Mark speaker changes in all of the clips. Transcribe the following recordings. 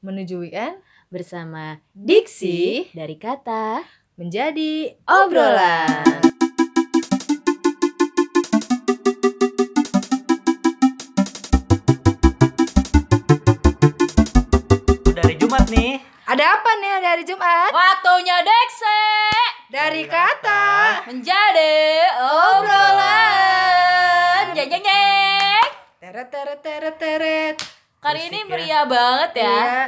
Speaker 1: menuju weekend
Speaker 2: bersama Diksi dari kata
Speaker 1: menjadi
Speaker 2: obrolan.
Speaker 3: Dari Jumat nih.
Speaker 1: Ada apa nih hari hari
Speaker 2: Oh,
Speaker 1: Jumat?
Speaker 2: Waktunya Diksi
Speaker 1: Dari kata
Speaker 2: menjadi obrolan. Jeng jeng jeng.
Speaker 1: teret teret teret teret.
Speaker 2: Kali ini
Speaker 3: Berisik ya.
Speaker 2: meriah banget ya.
Speaker 1: Iya.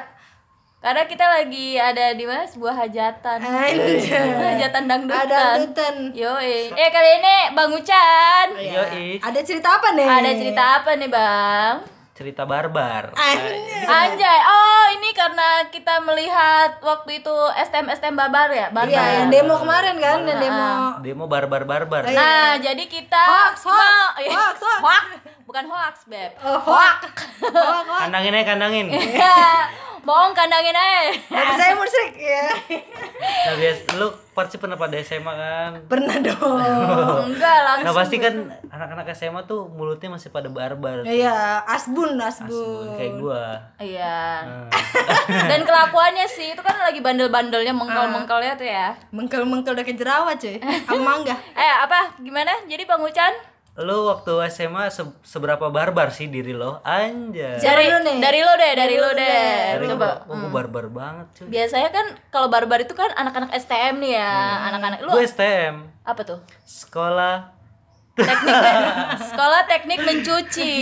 Speaker 2: Karena kita lagi ada di mana sebuah hajatan.
Speaker 1: Anjay.
Speaker 2: hajatan dangdutan.
Speaker 1: Eh. Ada dutan.
Speaker 2: Yoi. Eh kali ini Bang Ucan.
Speaker 3: Iya. Yoi.
Speaker 1: Ada cerita apa nih?
Speaker 2: Ada cerita apa nih Bang?
Speaker 3: Cerita barbar.
Speaker 1: Anjay.
Speaker 2: Anjay, oh ini karena kita melihat waktu itu STM STM Babar ya, Babar.
Speaker 1: Iya, yang demo kemarin kan, yang demo.
Speaker 2: Ah.
Speaker 3: Demo barbar barbar.
Speaker 2: Nah, jadi kita
Speaker 1: Hoax, hoax,
Speaker 2: mau-
Speaker 1: hoax, hoax.
Speaker 2: Hoax. bukan hoax beb.
Speaker 1: Oh, hoak. Hoak, hoak.
Speaker 3: Kandangin aja kandangin.
Speaker 2: Ya, bohong kandangin aja.
Speaker 1: Dari saya musrik ya.
Speaker 3: Nah, bias, lu pasti pernah pada SMA kan?
Speaker 1: Pernah dong.
Speaker 2: Enggak
Speaker 3: Nah
Speaker 2: langsung.
Speaker 3: pasti kan anak-anak SMA tuh mulutnya masih pada barbar.
Speaker 1: Iya, asbun, asbun.
Speaker 3: Asbun kayak gua.
Speaker 2: Iya.
Speaker 3: Nah,
Speaker 2: Dan kelakuannya sih itu kan lagi bandel-bandelnya mengkel-mengkelnya tuh ya.
Speaker 1: Mengkel-mengkel udah ke jerawat, cuy. Sama mangga.
Speaker 2: Eh, apa? Gimana? Jadi Bang Ucan
Speaker 3: lu waktu SMA se- seberapa barbar sih diri lo? Anjay.
Speaker 2: dari
Speaker 1: dulu nih.
Speaker 2: dari lo deh, dari lo deh.
Speaker 3: Dari
Speaker 2: Coba. Hmm.
Speaker 3: gua, oh, gua barbar banget cuy.
Speaker 2: Biasanya kan kalau barbar itu kan anak-anak STM nih ya,
Speaker 3: Hmm.
Speaker 2: anak-anak lu
Speaker 3: Gue STM.
Speaker 2: apa tuh?
Speaker 3: Sekolah
Speaker 2: Teknik sekolah teknik mencuci.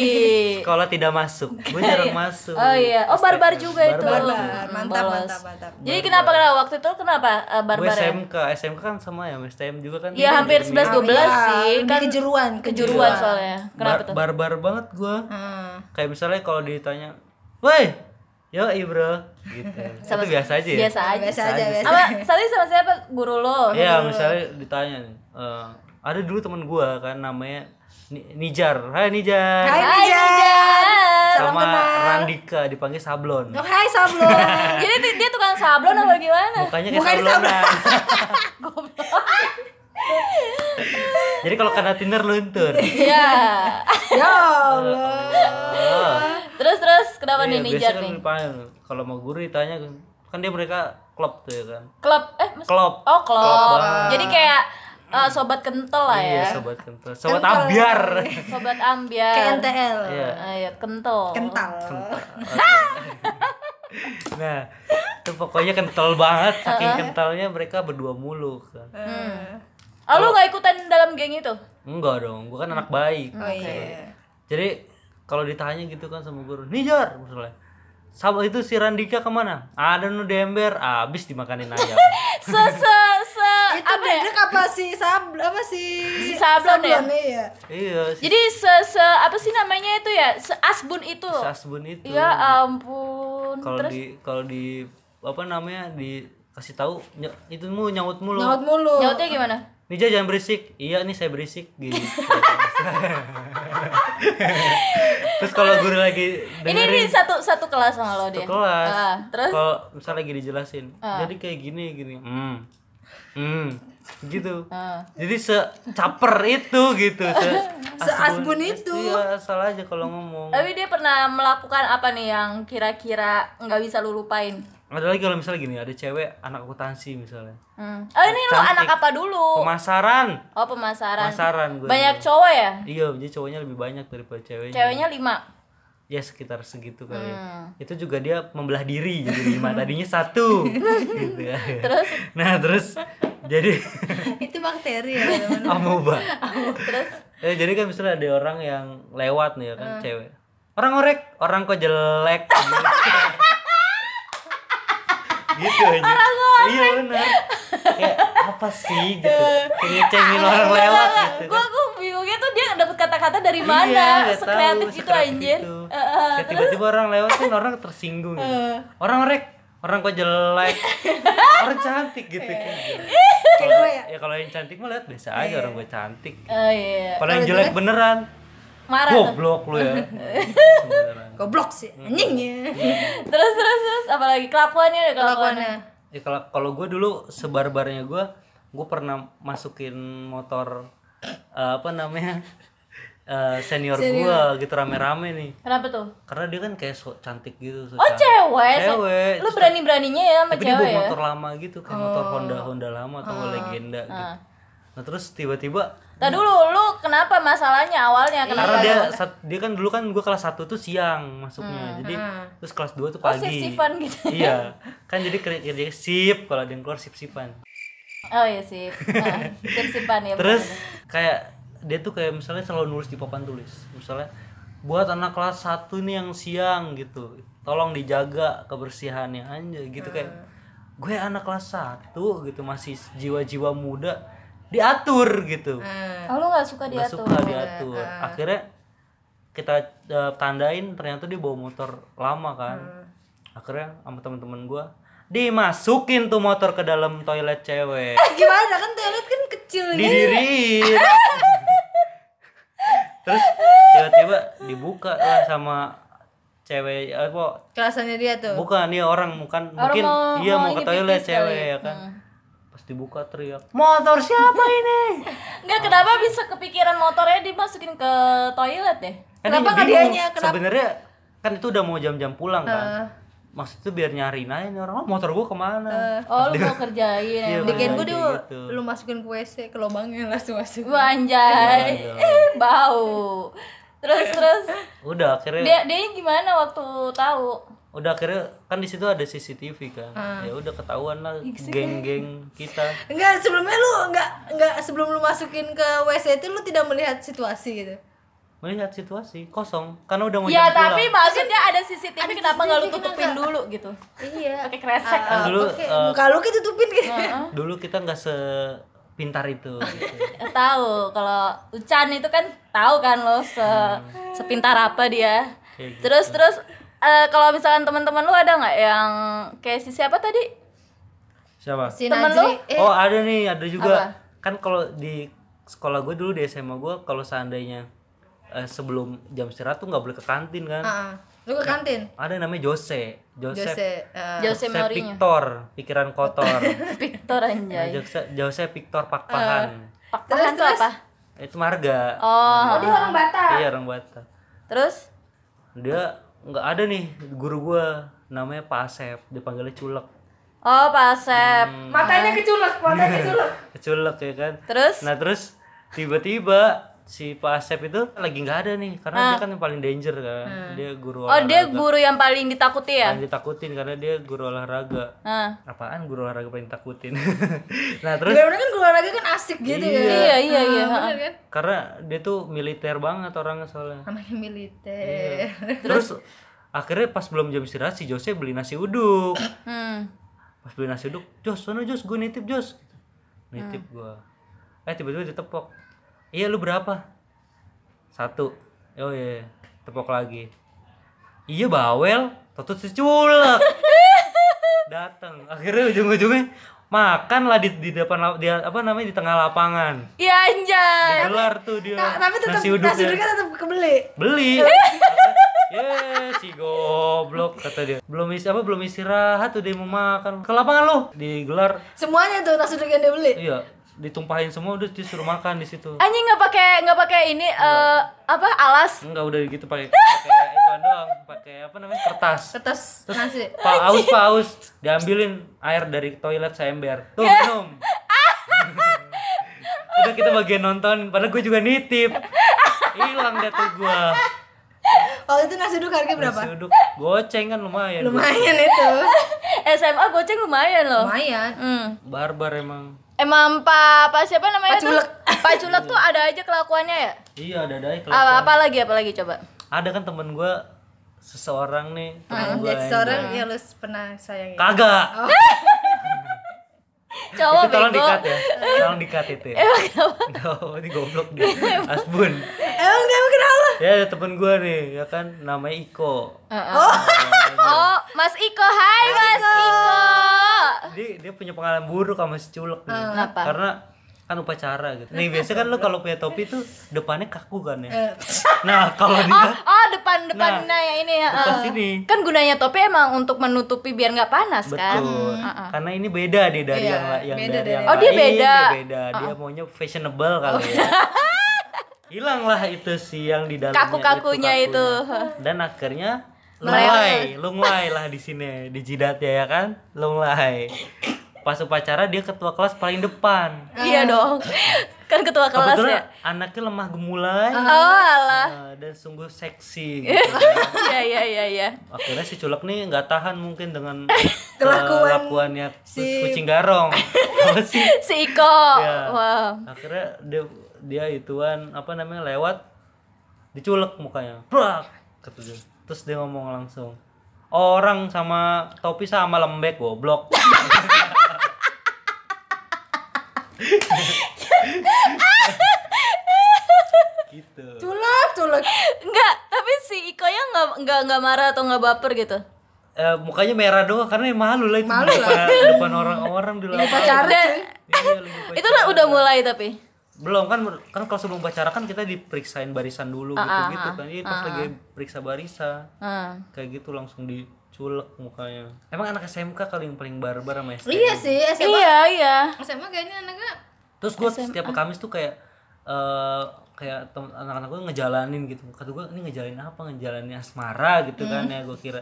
Speaker 3: sekolah tidak masuk. Gue jarang masuk.
Speaker 2: Oh iya, oh barbar juga itu.
Speaker 1: Barbar,
Speaker 2: Hmm,
Speaker 1: mantap,
Speaker 2: bolos.
Speaker 1: mantap, mantap.
Speaker 2: Jadi kenapa kenapa waktu itu kenapa eh,
Speaker 3: Gue
Speaker 2: barbar? ya?
Speaker 3: SMK, SMK kan sama ya, sama STM juga kan.
Speaker 2: Iya, hampir 11-12 sih.
Speaker 1: Lebih
Speaker 2: Kan
Speaker 1: kejuruan,
Speaker 2: kejuruan
Speaker 1: Iya.
Speaker 2: soalnya. Kenapa
Speaker 3: Bar-
Speaker 2: tuh?
Speaker 3: Barbar banget gua.
Speaker 1: Hmm.
Speaker 3: Kayak misalnya kalau ditanya, "Woi, yo bro." Gitu. itu biasa aja ya.
Speaker 2: Biasa Oh, aja.
Speaker 1: Biasa aja, biasa.
Speaker 2: Sama tadi sama siapa? Guru lo.
Speaker 3: Iya, misalnya ditanya nih, eh, ada dulu temen gua kan namanya Ni- Nijar. Hai Nijar.
Speaker 1: Hai,
Speaker 2: Hai,
Speaker 1: Nijar.
Speaker 2: Nijar.
Speaker 1: salam
Speaker 3: Sama
Speaker 1: kenal.
Speaker 3: Randika dipanggil Sablon.
Speaker 1: Oh, hai Sablo.
Speaker 2: Jadi dia- dia tukang sablon apa gimana?
Speaker 3: Mukanya kayak
Speaker 1: Mukanya
Speaker 3: Sablonan. Jadi kalau kena tiner luntur.
Speaker 2: Iya.
Speaker 1: ya Allah.
Speaker 3: Oh.
Speaker 2: Terus terus kenapa nih
Speaker 3: Iya,
Speaker 2: Nijar
Speaker 3: biasanya kan
Speaker 2: nih?
Speaker 3: dipanggil. Kalau mau guru ditanya kan, kan dia mereka klop tuh ya kan.
Speaker 2: Klub eh mas-
Speaker 3: Klop.
Speaker 2: Oh, klub.
Speaker 3: Klop banget.
Speaker 2: Jadi kayak eh, sobat kental lah ya.
Speaker 3: Iya, sobat kental. Sobat ambiar.
Speaker 1: Iya.
Speaker 2: Sobat ambiar.
Speaker 1: Kayak NTL.
Speaker 3: Iya.
Speaker 2: Ayo, kental.
Speaker 1: Kental.
Speaker 3: Nah, itu pokoknya kental banget, saking kentalnya mereka berdua mulu kan.
Speaker 1: Hmm.
Speaker 2: Oh, lu gak ikutan dalam geng itu?
Speaker 3: Enggak dong, gua kan anak baik.
Speaker 1: Oh iya.
Speaker 3: Jadi kalau ditanya gitu kan sama guru, Nijar misalnya. Sama itu si Randika kemana? Ada nu di ember, abis dimakanin ayam.
Speaker 2: Se se se
Speaker 1: Itu
Speaker 2: apa ya?
Speaker 1: dedek apa sih Sab apa sih?
Speaker 2: Si sablon ya?
Speaker 1: iya.
Speaker 3: iya, si
Speaker 2: Jadi se se apa sih namanya itu ya? Se asbun itu.
Speaker 1: Iya.
Speaker 3: Sasbun itu.
Speaker 2: Ya ampun.
Speaker 3: kalau di kalau di apa namanya dikasih tahu ny- itu mu nyaut mulu
Speaker 1: Nyaut mulu.
Speaker 2: Nyautnya gimana?
Speaker 3: Nija jangan berisik iya nih saya berisik gitu terus kalau guru lagi
Speaker 2: Ini
Speaker 3: dengerin
Speaker 2: ini satu satu kelas sama lo dia.
Speaker 3: ke kelas
Speaker 2: Ah, terus Ah.
Speaker 3: kalau misal lagi dijelasin jadi kayak gini gini hmm hmm gitu
Speaker 2: Ah.
Speaker 3: jadi secaper itu gitu se
Speaker 1: Seasbun itu.
Speaker 3: iya salah aja kalau ngomong
Speaker 2: tapi dia pernah melakukan apa nih yang kira-kira nggak bisa lu lupain?
Speaker 3: ada lagi kalau misalnya gini ada cewek anak akuntansi misalnya
Speaker 2: Hmm. Oh ini lu anak apa dulu?
Speaker 3: pemasaran
Speaker 2: Oh pemasaran.
Speaker 3: Pemasaran gue
Speaker 2: Banyak cowok ya?
Speaker 3: Iya, jadi cowoknya lebih banyak daripada ceweknya.
Speaker 2: Ceweknya lima.
Speaker 3: Ya sekitar segitu kali. ya. Itu juga dia membelah diri jadi lima tadinya satu. gitu ya. Terus? Nah terus jadi
Speaker 1: Itu bakteri ya, teman.
Speaker 3: amoeba. Ya, jadi kan misalnya ada orang yang lewat nih ya kan cewek. Orang orek, orang kok jelek. gitu aja. Iya benar. Kayak apa sih gitu. Kayak ngecengin orang lewat gitu.
Speaker 2: Gua gua bingungnya tuh dia dapat kata-kata dari mana?
Speaker 3: Iya, nggak
Speaker 2: Sekreatif
Speaker 3: tahu, gitu.
Speaker 2: itu
Speaker 3: sekreatif
Speaker 2: gitu, anjir.
Speaker 3: itu.
Speaker 2: Heeh.
Speaker 3: Kayak tiba-tiba orang lewat kan orang tersinggung gitu. orang rek orang kok jelek orang cantik gitu
Speaker 1: Kayak gue ya.
Speaker 3: ya kalau yang cantik mah lihat biasa aja orang gue cantik
Speaker 2: Oh iya.
Speaker 3: kalau yang jelek beneran
Speaker 2: Marah tuh.
Speaker 3: goblok lu ya Beneran.
Speaker 1: Goblok sih. Anjing ya.
Speaker 2: Iya. Terus terus terus apalagi kelakuannya ada kelakuannya.
Speaker 1: Kelakuannya.
Speaker 3: ya kalau kalau gue dulu sebarbarnya gue gue pernah masukin motor eh, apa namanya eh eh, senior,
Speaker 1: Senior.
Speaker 3: gua gitu rame-rame nih
Speaker 2: Kenapa tuh?
Speaker 3: karena dia kan kayak so cantik gitu so
Speaker 2: Oh
Speaker 3: cantik.
Speaker 2: cewek, se-
Speaker 3: Cewek,
Speaker 2: lu
Speaker 3: terus
Speaker 2: berani-beraninya ya sama
Speaker 3: tapi dia
Speaker 2: cewek
Speaker 3: bawa
Speaker 2: ya? Oh. Ah.
Speaker 3: motor lama gitu kayak motor Honda Honda lama atau nggak legenda gitu nah terus tiba-tiba
Speaker 2: Nah dulu, lu kenapa masalahnya awalnya?
Speaker 3: karena
Speaker 2: Kenapa? Hmm,
Speaker 3: dia sat- dia kan dulu kan gue kelas 1 tuh siang masuknya jadi terus kelas 2 tuh pagi
Speaker 2: sip-sipan gitu.
Speaker 3: iya kan jadi kerja kerja sip kalau ada yang keluar sip sipan
Speaker 2: Oh iya sih, nah, sip-sipan ya.
Speaker 3: terus kayak dia tuh kayak misalnya selalu nulis di papan tulis misalnya buat anak kelas 1 nih yang siang gitu tolong dijaga kebersihannya anjay gitu kayak gue anak kelas 1 gitu masih jiwa-jiwa muda diatur gitu
Speaker 2: bener. Oh, lu gak suka
Speaker 3: nggak
Speaker 2: diatur?
Speaker 3: suka diatur akhirnya kita eh, tandain ternyata dia bawa motor lama kan akhirnya sama temen-temen gua dimasukin tuh motor ke dalam toilet cewek
Speaker 1: Gimana kan toilet kan kecil nih.
Speaker 3: didiriin terus tiba-tiba dibuka lah sama cewek apa
Speaker 1: Kelasannya dia tuh.
Speaker 3: bukan dia orang bukan mungkin
Speaker 2: mau-
Speaker 3: dia
Speaker 2: mau
Speaker 3: mau, ke
Speaker 2: ini
Speaker 3: toilet
Speaker 2: pipis
Speaker 3: cewek
Speaker 2: kali.
Speaker 3: ya kan
Speaker 1: Hmm.
Speaker 3: pas dibuka teriak Eh, motor siapa ini
Speaker 2: Enggak, kenapa bisa kepikiran motornya dimasukin ke toilet deh?
Speaker 1: Kenapa
Speaker 3: dia
Speaker 1: nggak
Speaker 3: bingung.
Speaker 1: dianya? Kenapa? Hmm.
Speaker 3: Sebenarnya kan itu udah mau jam-jam pulang kan. Maksudnya biar nyariin aja nih orang, oh, motor gua kemana?
Speaker 2: Oh lu mau kerjain
Speaker 3: Iya,
Speaker 2: emang.
Speaker 3: bener.
Speaker 1: Bikin gue
Speaker 3: Kayak
Speaker 1: Hmm. dia
Speaker 3: gitu.
Speaker 1: lu masukin ke WC ke lubangnya langsung masuk.
Speaker 2: Wah anjay,
Speaker 3: Iya,
Speaker 2: eh, bau. Terus terus
Speaker 3: Udah akhirnya,
Speaker 2: dia dia gimana waktu tahu?
Speaker 3: udah akhirnya kan di situ ada CCTV kan.
Speaker 1: Hmm.
Speaker 3: Ya udah ketahuan lah
Speaker 1: Iya
Speaker 3: geng-geng kita.
Speaker 1: Enggak, sebelumnya lu enggak enggak sebelum lu masukin ke WC itu lu tidak melihat situasi gitu.
Speaker 3: Melihat situasi kosong karena udah mau
Speaker 2: Ya
Speaker 3: jam pulang.
Speaker 2: tapi maksudnya ada CCTV kenapa nggak lu tutupin dulu gitu?
Speaker 1: Iya.
Speaker 2: Pakai kresek.
Speaker 3: Kan dulu
Speaker 1: Oke, muka lu kita tutupin gitu.
Speaker 3: dulu kita nggak sepintar itu. gitu.
Speaker 2: Eh, tahu kalau Ucan itu kan tahu kan lo se sepintar apa dia.
Speaker 3: Hmm. Kayak gitu.
Speaker 2: Terus terus eh, kalau misalkan teman-teman lu ada nggak yang kayak si siapa tadi?
Speaker 3: Siapa?
Speaker 1: Si
Speaker 2: Temen
Speaker 1: Najri, eh,
Speaker 2: lu?
Speaker 3: Oh ada nih, ada juga.
Speaker 2: Apa?
Speaker 3: Kan kalau di sekolah gue dulu di SMA gue kalau seandainya eh, sebelum jam istirahat tuh nggak boleh ke kantin kan.
Speaker 1: ah, lu ke kantin.
Speaker 3: Ada namanya Jose, Joseph,
Speaker 1: Jose. eh,
Speaker 2: Jose
Speaker 3: Joseph
Speaker 2: Mourinho.
Speaker 3: Victor, pikiran kotor.
Speaker 2: Victor
Speaker 3: Nah,
Speaker 2: anjay.
Speaker 3: Jose, Jose Victor Pakpahan.
Speaker 2: Pak Pahan tuh apa?
Speaker 3: Itu marga.
Speaker 1: Oh,
Speaker 2: Oh,
Speaker 1: dia orang Batak.
Speaker 3: Iya orang Batak.
Speaker 2: terus
Speaker 3: Dia nggak ada nih guru gue namanya Pak Asep, dipanggilnya Culek.
Speaker 2: Oh, Pak Asep.
Speaker 3: Hmm.
Speaker 1: Matanya keculek, matanya keculek.
Speaker 3: Culek ya kan.
Speaker 2: Terus
Speaker 3: Nah terus tiba-tiba si Pak Asep itu lagi nggak ada nih karena dia kan yang paling danger kan. Dia
Speaker 2: oh
Speaker 3: guru olahraga.
Speaker 2: dia guru yang paling ditakuti ya?
Speaker 3: yang ditakutin karena dia guru olahraga.
Speaker 2: Nah.
Speaker 3: Apaan guru olahraga paling takutin? nah terus
Speaker 1: Gimana kan olahraga kan asik gitu ya.
Speaker 2: Iya, iya, iya.
Speaker 1: Bener kan?
Speaker 3: karena dia tuh militer banget orangnya soalnya.
Speaker 1: Namanya
Speaker 3: Iya.
Speaker 1: militer.
Speaker 3: Terus akhirnya pas belum jam istirahat si Jose beli nasi uduk.
Speaker 2: Hmm.
Speaker 3: Pas beli nasi uduk, Jos, sono Jos, gue nitip Jos. Nitip gua Eh tiba-tiba ditepok. Iya lu berapa? Satu. Oh iya, tepok lagi. Iya bawel, tutut si culek. Datang. Akhirnya ujung-ujungnya makan lah di, di depan lap- di apa namanya di tengah lapangan.
Speaker 2: Iya anjay.
Speaker 3: Gelar tuh dia.
Speaker 1: Nah, tapi tetap nasi
Speaker 3: nasi ya. uduknya.
Speaker 1: uduknya tetap kebeli.
Speaker 3: beli Ye, si goblok kata dia. Belum is apa belum istirahat udah mau makan. Ke lapangan lu. Digelar.
Speaker 1: Semuanya tuh nasi uduk yang dia beli.
Speaker 3: Iya, ditumpahin semua udah disuruh makan di situ.
Speaker 2: Anjing nggak pakai nggak pakai ini eh apa alas?
Speaker 3: Enggak udah gitu pakai pakai itu doang, pakai apa namanya? kertas.
Speaker 1: Kertas nasi.
Speaker 3: Pak Aus, Pak Aus, diambilin air dari toilet saya ember. Tuh minum. udah kita bagian nonton, padahal gue juga nitip. Hilang deh tuh gua.
Speaker 1: Waktu itu nasi uduk harganya berapa?
Speaker 3: Nasi uduk goceng kan lumayan.
Speaker 1: Lumayan itu.
Speaker 2: SMA goceng lumayan loh.
Speaker 1: Lumayan.
Speaker 2: Hmm.
Speaker 3: Barbar emang.
Speaker 2: Emang Pak Pak siapa
Speaker 1: Pak
Speaker 2: namanya tuh?
Speaker 1: Culek.
Speaker 2: Pak Culek tuh ada aja kelakuannya ya?
Speaker 3: Iya ada daik lah.
Speaker 2: Apa, apa lagi apa lagi coba?
Speaker 3: Ada kan temen gue seseorang nih
Speaker 2: Ah,
Speaker 3: temen
Speaker 2: iya,
Speaker 3: gue
Speaker 1: Jadi seorang ya lu pernah ya. sayangin.
Speaker 3: kagak.
Speaker 2: Cowok
Speaker 3: itu
Speaker 2: Oh,
Speaker 3: tolong
Speaker 2: bego.
Speaker 3: dikat ya, tolong dikat itu. Ya. Emang ini goblok dia. Asbun.
Speaker 1: Emang dia emang kenapa?
Speaker 3: Ya ada temen gue nih ya kan namanya Iko.
Speaker 2: Oh, Mas Iko, hai Mas Iko.
Speaker 3: Dia dia punya pengalaman buruk sama si culek nih.
Speaker 2: Ah. Kenapa?
Speaker 3: Karena kan upacara gitu. Nih biasanya kan lo kalau punya topi tuh depannya kaku kan ya.
Speaker 2: Eh.
Speaker 3: Nah kalau
Speaker 2: Oh,
Speaker 3: dia
Speaker 2: oh depan depan nah, yang ini ya.
Speaker 3: depan
Speaker 2: eh.
Speaker 3: sini.
Speaker 2: Kan gunanya topi emang untuk menutupi biar nggak panas kan?
Speaker 3: Betul. Karena ini beda deh dari yang la- yang dari yang
Speaker 2: Oh, dia
Speaker 3: lain,
Speaker 2: beda.
Speaker 3: Dia beda. Dia maunya fashionable kali ya. hilanglah itu si yang di dalamnya
Speaker 2: Kaku-kakunya
Speaker 3: itu,
Speaker 2: itu.
Speaker 3: kakunya. dan akhirnya lu mulai
Speaker 2: Meleleh.
Speaker 3: lu mulai lah di sini di jidatnya ya kan lu mulai pas upacara dia ketua kelas paling depan
Speaker 2: Iya dong. Kan ketua kelas ya.
Speaker 3: kebetulan ya. anaknya lemah gemulai
Speaker 2: Oh alah.
Speaker 3: eh, dan sungguh seksi gitu.
Speaker 2: Iya iya iya iya.
Speaker 3: akhirnya si culek nih nggak tahan mungkin dengan
Speaker 1: Kelakuan
Speaker 3: kelakuannya si... kucing garong Apa sih?
Speaker 2: Si Iko.
Speaker 3: Iya.
Speaker 2: Wow.
Speaker 3: akhirnya dia dia ituan apa namanya lewat diculek mukanya Brak! Kata dia. terus dia ngomong langsung orang sama topi sama lembek goblok gitu
Speaker 1: Culek, culek.
Speaker 2: Enggak, tapi si Iko ya enggak enggak enggak marah atau enggak baper gitu.
Speaker 3: Eh, mukanya merah doang karena ya malu lah itu
Speaker 1: Malu
Speaker 3: di depan, di depan orang-orang di lapangan.
Speaker 1: Pacaran
Speaker 2: Dan-
Speaker 1: cuy.
Speaker 3: Iya, lagi pacaran.
Speaker 2: Itu udah udah mulai tapi.
Speaker 3: belum kan kan kalau sebelum pacaran kan kita diperiksain barisan dulu gitu gitu kan iya pas lagi periksa barisan
Speaker 2: Hmm.
Speaker 3: kayak gitu langsung diculek mukanya emang anak SMK kali yang paling barbar sama SD
Speaker 1: Iya sih, SMA.
Speaker 2: Iya, iya.
Speaker 1: SMA kayaknya anaknya
Speaker 3: terus gue setiap Kamis tuh kayak eh kayak tem- anak-anak gue ngejalanin gitu kata gue ini ngejalanin apa ngejalanin asmara gitu kan ya gue kira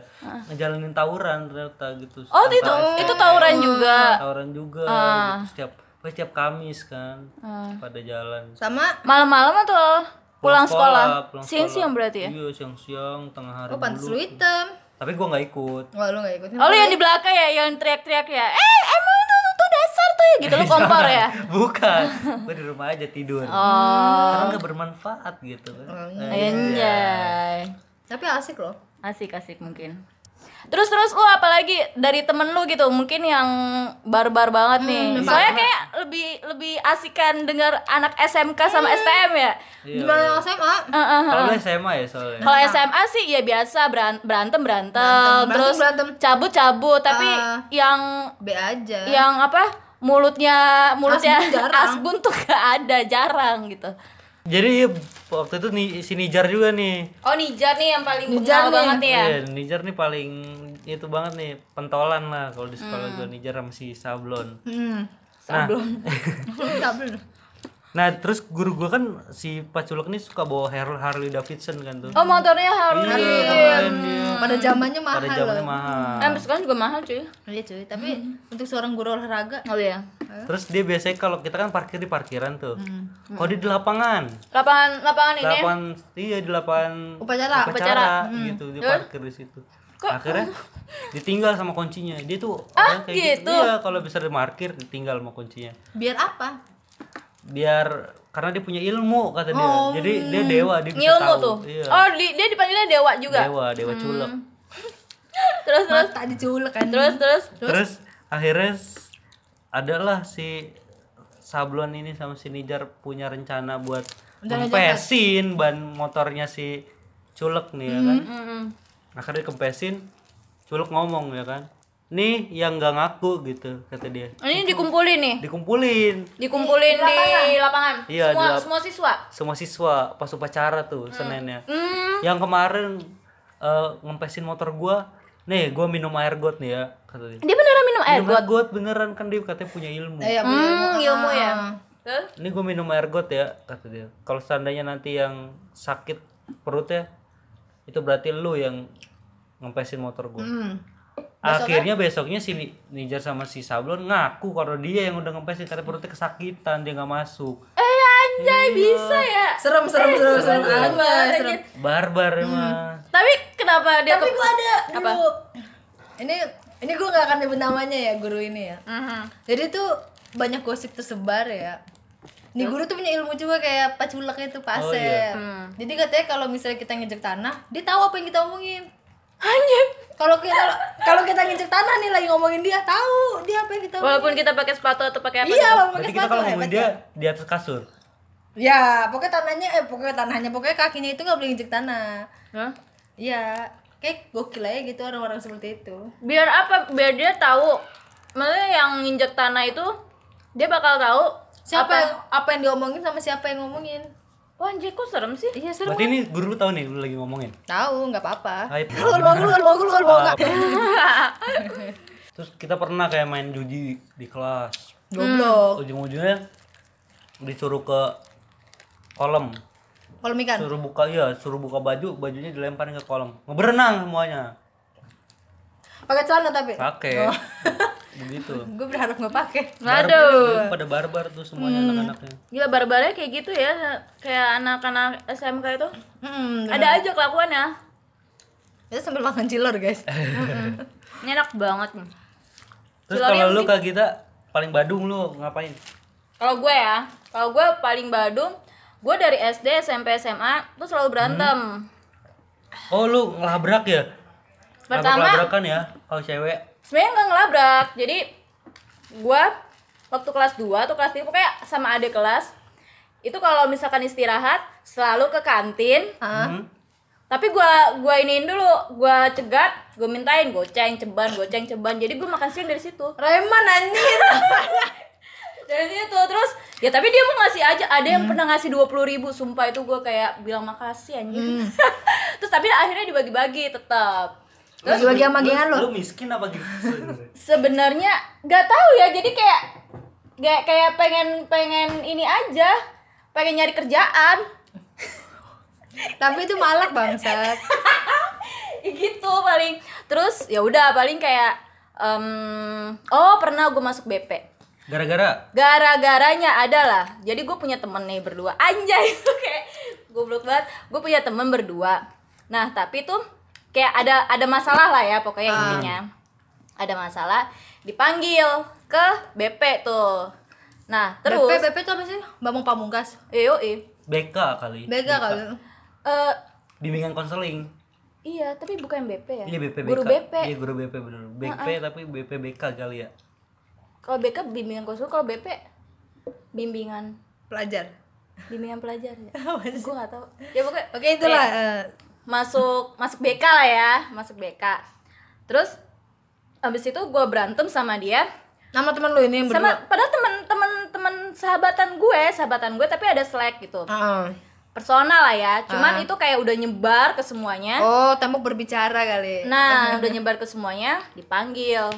Speaker 3: ngejalanin tawuran ternyata gitu
Speaker 2: Hmm. Ah. Oh,
Speaker 3: Tanpa
Speaker 2: itu
Speaker 3: STM.
Speaker 2: itu Ah. tawuran juga.
Speaker 3: tawuran juga gitu. setiap pokoknya setiap Kamis kan pada jalan
Speaker 1: sama
Speaker 2: Malam-malam atau Ah. pulang sekolah?
Speaker 3: pulang
Speaker 2: Siang-siang berarti ya?
Speaker 3: iya siang-siang tengah
Speaker 1: oh,
Speaker 3: hari
Speaker 1: pantas lu
Speaker 3: dulu
Speaker 1: hitam.
Speaker 3: tapi gue nggak ikut
Speaker 1: Wah, lu gak ikutin.
Speaker 2: Oh, lu yang di belakang ya, yang teriak-teriak ya. Eh, emang itu tuh dasar tuh ya gitu lu kompor ya.
Speaker 3: bukan gue di rumah aja
Speaker 2: Oh.
Speaker 3: tidur karena nggak bermanfaat gitu kan
Speaker 2: iya. Anjay.
Speaker 1: Tapi asik loh.
Speaker 2: Asik-asik mungkin. Terus terus lu apalagi dari temen lu gitu mungkin yang barbar banget nih. Soalnya kayak lebih lebih asikan dengar anak SMK sama STM ya.
Speaker 1: Gimana yang SMA?
Speaker 2: Heeh.
Speaker 3: kalau lu SMA ya soalnya
Speaker 2: Kalau SMA sih ya biasa beran- berantem berantem,
Speaker 1: Berantem,
Speaker 2: terus
Speaker 1: berantem.
Speaker 2: cabut cabut tapi
Speaker 1: Ah.
Speaker 2: yang
Speaker 1: B aja.
Speaker 2: yang apa mulutnya mulutnya
Speaker 1: Asbun jarang.
Speaker 2: Iya. asbun tuh gak ada jarang gitu.
Speaker 3: jadi iya, waktu itu nih si Nijar juga nih
Speaker 2: Oh Nijar nih yang paling
Speaker 1: Nijar
Speaker 2: kenal
Speaker 1: nih.
Speaker 2: banget ya.
Speaker 3: Iya, Nijar nih paling itu banget nih pentolan lah kalau di sekolah gue Nijar sama si Sablon
Speaker 1: Hmm.
Speaker 3: nah
Speaker 1: Enggak bener.
Speaker 3: nah terus guru gue kan si Paculek nih suka bawa Har- Harley Davidson kan tuh
Speaker 2: Oh motornya Harley.
Speaker 3: Iya, keren dia.
Speaker 1: Pada zamannya mahal
Speaker 3: pada zamannya
Speaker 1: loh.
Speaker 3: mahal
Speaker 2: Em, eh, sekarang juga mahal cuy.
Speaker 1: Iya cuy, tapi untuk seorang guru olahraga
Speaker 2: Oh iya.
Speaker 3: Terus dia biasanya kalau kita kan parkir di parkiran tuh. Kalau dia di lapangan,
Speaker 2: Lapangan lapangan ini.
Speaker 3: lapangan Hmm, iya di lapangan
Speaker 1: Upacara,
Speaker 3: upacara, gitu dia parkir di situ. Akhirnya ditinggal sama kuncinya. Dia tuh orangnya kayak gitu. Iya, kalau bisa di parkir ditinggal sama kuncinya.
Speaker 1: biar apa?
Speaker 3: Biar karena dia punya ilmu kata dia. Jadi dia dewa, dia
Speaker 2: Oh,
Speaker 3: bisa
Speaker 2: hmm. Ngilmu
Speaker 3: tahu.
Speaker 2: tuh. Hmm.
Speaker 3: Iya.
Speaker 2: Oh di- dia dipanggilnya dewa juga.
Speaker 3: Dewa, dewa culek.
Speaker 2: Terus terus
Speaker 1: Mata diculek kan.
Speaker 2: terus terus.
Speaker 3: Terus akhirnya s- adalah si Sablon ini sama si Nijar punya rencana buat kempesin ban motornya si Culek nih ya kan.
Speaker 2: Hmm,
Speaker 3: Akhirnya kempesin, Culek ngomong ya kan. Nih yang nggak ngaku gitu kata dia.
Speaker 2: Ini dikumpulin nih.
Speaker 3: Dikumpulin
Speaker 2: Dikumpulin di lapangan.
Speaker 3: Iya,
Speaker 2: semua
Speaker 3: di lap-
Speaker 2: semua siswa.
Speaker 3: semua siswa pas upacara tuh Seninnya. Yang kemarin eh, ngempesin motor gua, nih gua minum air got nih ya kata dia.
Speaker 2: Dia beneran minum air.
Speaker 3: Minum air got beneran kan dia katanya punya ilmu.
Speaker 1: Iya,
Speaker 2: Hmm, ilmu ya. Terus?
Speaker 3: ini gue minum air got ya kata dia kalau seandainya nanti yang sakit perutnya itu berarti lu yang ngempesin motor gue akhirnya Hmm. besoknya si Ni- Nijar sama si Sablon ngaku kalau dia yang udah ngempesin karena perutnya kesakitan dia nggak masuk
Speaker 2: Eh anjay
Speaker 3: Iya.
Speaker 2: bisa ya.
Speaker 1: serem serem serem serem aja, serem.
Speaker 3: barbar emang
Speaker 2: Tapi kenapa dia
Speaker 1: Tapi
Speaker 2: ke-
Speaker 1: gua ada dulu. Ini ini gua nggak akan nyebut namanya ya guru ini ya.
Speaker 2: Mhm.
Speaker 1: Jadi tuh banyak gosip tersebar ya. Ini guru tuh punya ilmu juga kayak Pak Culek itu Pak
Speaker 3: Oh,
Speaker 1: Asep.
Speaker 3: iya.
Speaker 1: Jadi katanya kalau misalnya kita ngejek tanah, dia tahu apa yang kita omongin.
Speaker 2: Anjay.
Speaker 1: Kalau kita kalau kita ngejek tanah nih lagi ngomongin dia, tahu dia apa yang kita omongin.
Speaker 2: Walaupun kita pakai sepatu atau pakai apa?
Speaker 1: Iya, walaupun pakai
Speaker 3: berarti kita
Speaker 1: sepatu
Speaker 3: kalau ngomongin
Speaker 1: hebat
Speaker 3: dia
Speaker 1: ya.
Speaker 3: di atas kasur
Speaker 1: Ya, pokoknya tanahnya eh pokoknya tanahnya pokoknya kakinya itu nggak boleh ngejek tanah.
Speaker 2: Hah?
Speaker 1: Iya, kayak gokil aja gitu orang-orang seperti itu.
Speaker 2: Biar apa? Biar dia tahu. Maksudnya yang nginjek tanah itu dia bakal tahu
Speaker 1: Siapa
Speaker 2: apa-
Speaker 1: yang apa yang diomongin sama siapa yang ngomongin?
Speaker 2: Wah anjay kok serem sih?
Speaker 1: Iya, seru.
Speaker 3: berarti ini guru lu tahu nih lu lagi ngomongin
Speaker 1: Tahu, nggak apa-apa.
Speaker 3: Aib.
Speaker 1: Lu mau lu mau lu mau enggak?
Speaker 3: terus kita pernah kayak main judi di kelas
Speaker 1: Goblok.
Speaker 3: ujung-ujungnya disuruh ke kolam
Speaker 1: Hmm. Polemikan.
Speaker 3: suruh buka ya suruh buka baju bajunya dilemparin ke kolam berenang semuanya
Speaker 1: Pakai celana tapi.
Speaker 3: pakai
Speaker 1: Oh.
Speaker 3: begitu
Speaker 1: Gue berharap nggak pakai.
Speaker 2: Waduh.
Speaker 3: pada barbar tuh
Speaker 1: Hmm.
Speaker 3: semuanya anak-anaknya
Speaker 2: Gila barbarnya kayak gitu ya, kayak anak-anak SMK itu.
Speaker 1: Hmm,
Speaker 2: Ada aja ya. kelakuannya.
Speaker 1: itu sambil makan cilor guys.
Speaker 2: Ini enak banget nih.
Speaker 3: terus kalau lu kak kita paling badung lu ngapain
Speaker 2: Kalau gue ya, kalau gue paling badung, gue dari SD, SMP, SMA tuh selalu berantem.
Speaker 3: oh lu ngelabrak ya
Speaker 2: Pertama-
Speaker 3: labrakan ya kalau cewek
Speaker 2: Sebenarnya nggak ngelabrak. Jadi gue waktu kelas 2 tuh kelas 3 pokoknya sama adik kelas itu kalau misalkan istirahat selalu ke kantin
Speaker 1: Hah?
Speaker 3: Hmm.
Speaker 2: tapi gua gua iniin dulu gua cegat gua mintain goceng ceban goceng ceban jadi gua makan siang dari situ
Speaker 1: Reman anjir.
Speaker 2: dari situ terus ya tapi dia mau ngasih aja ada yang pernah ngasih dua ribu sumpah itu gue kayak bilang makasih anjir terus tapi akhirnya dibagi-bagi tetap
Speaker 1: Bagi-bagi sama gengan lu.
Speaker 3: lu miskin apa gitu
Speaker 2: sebenarnya nggak tahu ya jadi kayak kayak kayak pengen pengen ini aja pengen nyari kerjaan
Speaker 1: Tapi itu malak bangsat.
Speaker 2: gitu paling terus ya udah paling kayak em, oh pernah gue masuk BP
Speaker 3: gara-gara
Speaker 2: gara-garanya adalah jadi gue punya temen nih berdua anjay itu kayak goblok banget gue punya temen berdua nah tapi tuh kayak ada ada masalah lah ya pokoknya intinya ada masalah dipanggil ke BP tuh nah terus
Speaker 1: BP BP itu apa sih? Bambang Pamungkas.
Speaker 2: yoi
Speaker 3: BK kali
Speaker 1: Bega kali.
Speaker 2: Eh,
Speaker 3: bimbingan konseling
Speaker 2: iya tapi bukan BP ya
Speaker 3: Iya BP
Speaker 2: guru BP
Speaker 3: Iya guru BP bener. BP tapi BP BK kali ya.
Speaker 2: kalau BK bimbingan konsul kalau BP bimbingan
Speaker 1: Pelajar.
Speaker 2: bimbingan pelajar ya gue gak tahu ya pokoknya
Speaker 1: Oke itulah. eh,
Speaker 2: masuk masuk BK lah ya masuk BK terus abis itu gue berantem sama dia
Speaker 1: nama teman lu ini yang
Speaker 2: sama
Speaker 1: berdua.
Speaker 2: padahal temen-temen temen sahabatan gue sahabatan gue tapi ada slack gitu
Speaker 1: Heeh.
Speaker 2: personal lah ya cuman itu kayak udah nyebar ke semuanya
Speaker 1: Oh, tembok berbicara kali.
Speaker 2: nah udah nyebar ke semuanya dipanggil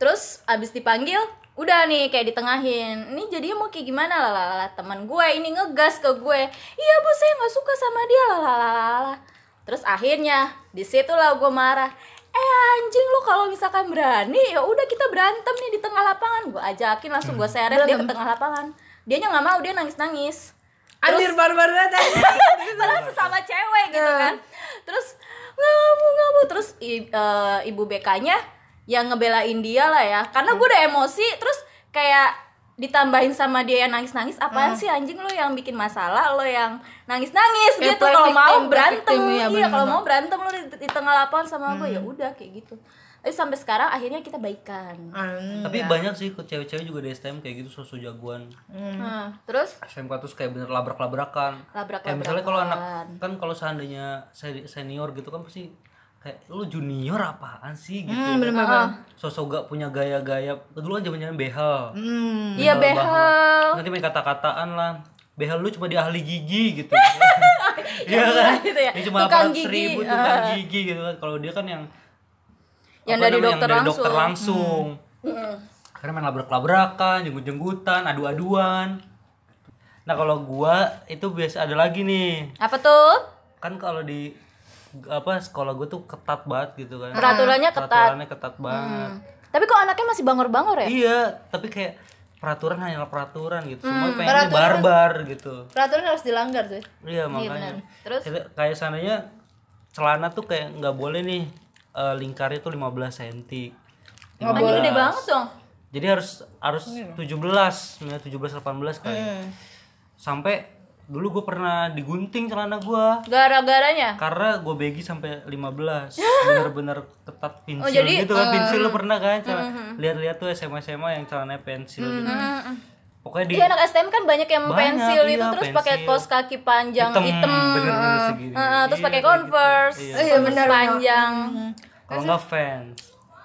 Speaker 2: terus abis dipanggil udah nih kayak ditengahin ini jadinya mau kayak gimana lalala teman gue ini ngegas ke gue iya bu saya nggak suka sama dia lalala terus akhirnya disitulah gue marah eh anjing lu kalau misalkan berani ya udah kita berantem nih di tengah lapangan gue ajakin langsung gue seret dia ke tengah lapangan dia nggak mau dia nangis nangis
Speaker 1: Anjir barbar banget.
Speaker 2: padahal Eh, sesama cewek gitu
Speaker 1: Nah.
Speaker 2: kan terus ngamu ngamu terus i- eh, ibu BK-nya yang ngebelain dia lah ya karena gue udah emosi terus kayak ditambahin sama dia yang nangis-nangis
Speaker 1: Ah.
Speaker 2: apaan sih anjing lo yang bikin masalah lo yang nangis-nangis
Speaker 1: Kayak
Speaker 2: gitu
Speaker 1: play
Speaker 2: kalau
Speaker 1: victim,
Speaker 2: mau
Speaker 1: play
Speaker 2: berantem
Speaker 1: victim, iya,
Speaker 2: iya
Speaker 1: bener. Hmm.
Speaker 2: kalau mau berantem lo di, di tengah lapangan sama gue ya udah kayak gitu tapi sampai sekarang akhirnya kita baikan
Speaker 1: Hmm,
Speaker 3: Tapi banyak sih ke cewek-cewek juga di STM kayak gitu sosok jagoan.
Speaker 1: Hmm.
Speaker 2: Nah, terus
Speaker 3: SMK terus kayak bener labrak-labrakan. Kayak
Speaker 2: labrak-labrakan
Speaker 3: misalnya kalau anak kan kalau seandainya se- senior gitu kan pasti kayak lu junior apaan sih gitu. ya. Sosok gak punya gaya-gaya. Dulu kan zaman-zaman behel.
Speaker 1: Hmm.
Speaker 2: iya behel
Speaker 3: Nanti main kata-kataan lah. Behel lu cuma di ahli gigi gitu. Iya kan?
Speaker 2: gitu ya.
Speaker 3: Dia cuma
Speaker 2: Tukang
Speaker 3: aparatus
Speaker 2: gigi,
Speaker 3: ribu tukang gigi gitu kan. Kalau dia kan yang
Speaker 2: Yang
Speaker 3: apa
Speaker 2: dari
Speaker 3: namanya,
Speaker 2: dokter
Speaker 3: dari dokter langsung. Karena main labrak-labrakan, jenggut-jenggutan, adu-aduan. Nah, kalau gua itu biasa ada lagi nih.
Speaker 2: apa tuh
Speaker 1: Hmm.
Speaker 3: Kan kalau di apa sekolah gua tuh ketat banget gitu kan.
Speaker 2: peraturannya ketat Mm.
Speaker 3: Peraturannya ketat banget.
Speaker 2: Tapi kok anaknya masih bangor-bangor ya?
Speaker 3: Iya, tapi kayak peraturan hanyalah peraturan gitu.
Speaker 2: Mm.
Speaker 3: Semua pengennya barbar gitu.
Speaker 1: Peraturan harus dilanggar tuh.
Speaker 3: Iya makanya. Terus kayak sananya celana tuh kayak nggak boleh nih eh, lingkarnya tuh 15 cm.
Speaker 2: Anjing gede banget dong.
Speaker 3: Jadi harus harus 17, ya, 17 18 kayak. Sampai dulu gue pernah digunting celana gua
Speaker 2: Gara-garanya.
Speaker 3: karena gue begi sampai 15 bener-bener ketat pensil gitu kan pensil lo pernah kan celana- lihat-lihat tuh SMA SMA yang celananya pensil gitu. pokoknya di
Speaker 2: Iya anak STM kan banyak yang
Speaker 3: Banyak,
Speaker 2: pensil itu
Speaker 3: iya,
Speaker 2: terus pakai
Speaker 3: pensil.
Speaker 2: kaos kaki panjang hitam, Ah.
Speaker 3: bener-bener segini
Speaker 2: Heeh, terus
Speaker 3: gitu.
Speaker 2: pakai converse,
Speaker 3: Iya.
Speaker 2: converse panjang,
Speaker 3: kalau nggak fans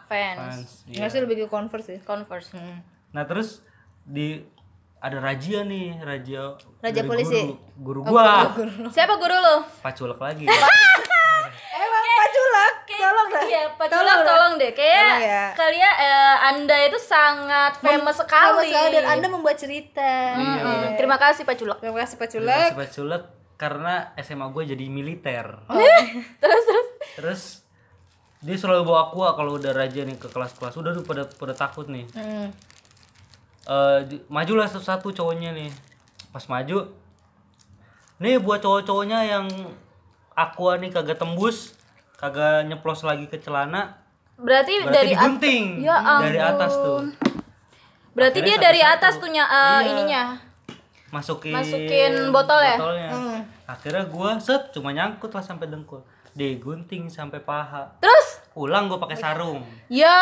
Speaker 2: fans,
Speaker 3: fans iya.
Speaker 1: Enggak sih lebih ke converse sih.
Speaker 2: converse.
Speaker 3: Nah terus di ada razia nih, razia
Speaker 1: Razia
Speaker 3: dari
Speaker 1: polisi.
Speaker 3: Guru, guru gua.
Speaker 2: Siapa Oh, guru lu?
Speaker 3: Paculek lagi.
Speaker 1: Emang paculak. Tolong dah.
Speaker 2: Iya, Pak Culak, tolong deh. Kayak
Speaker 1: Tolong ya.
Speaker 2: kalian eh, Anda itu sangat famous
Speaker 1: Sama
Speaker 2: sekali.
Speaker 1: sekali Hmm. dan Anda membuat cerita.
Speaker 3: Iya,
Speaker 2: Mm-mm. Terima kasih Pak Culek.
Speaker 1: Terima kasih Pak
Speaker 3: Terima
Speaker 1: Culek.
Speaker 3: kasih, Pak Culek karena SMA gue jadi militer.
Speaker 2: Oh. Terus terus.
Speaker 3: Terus dia selalu bawa aqua kalau udah raja nih ke kelas-kelas. Udah tuh pada pada takut nih.
Speaker 1: Hmm.
Speaker 3: Eh, di- majulah satu-satu cowoknya nih. Pas maju Nih buat cowok-cowoknya yang aqua nih kagak tembus, kagak nyeplos lagi ke celana,
Speaker 2: Berarti,
Speaker 3: berarti
Speaker 2: dari at-
Speaker 3: digunting
Speaker 2: Ya
Speaker 3: dari atas tuh.
Speaker 2: berarti
Speaker 3: Akhirnya
Speaker 2: dia dari
Speaker 3: satu-satu.
Speaker 2: atas tuhnya eh,
Speaker 3: Iya.
Speaker 2: ininya.
Speaker 3: masukin
Speaker 2: Masukin botol ya?
Speaker 3: botolnya. akhirnya gua set cuma nyangkut lah sampai dengkul digunting sampai paha
Speaker 2: Terus
Speaker 3: pulang gua pakai sarung
Speaker 2: ya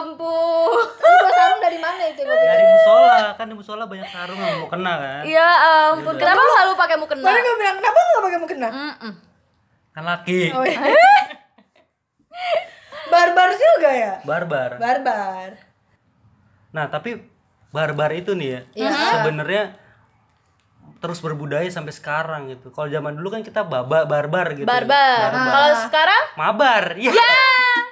Speaker 2: ampun.
Speaker 1: Lu dua sarung dari mana itu? Gua
Speaker 3: dari musola kan Ya, di musola banyak sarung yang mau kena kan
Speaker 2: Ya ampun. Kenapa selalu pakai mukena?
Speaker 1: Tadi gue bilang kenapa lu gak pakai mukena?
Speaker 2: Mm-mm.
Speaker 3: kan laki
Speaker 1: Oh, iya. Barbar juga ya?
Speaker 3: barbar
Speaker 1: Barbar.
Speaker 3: nah tapi barbar itu nih
Speaker 1: Iya.
Speaker 3: ya
Speaker 1: Hmm.
Speaker 3: sebenarnya terus berbudaya sampai sekarang gitu kalau zaman dulu kan kita baba barbar gitu
Speaker 2: Ah. Barbar. Kalau sekarang
Speaker 3: mabar ya
Speaker 2: ah,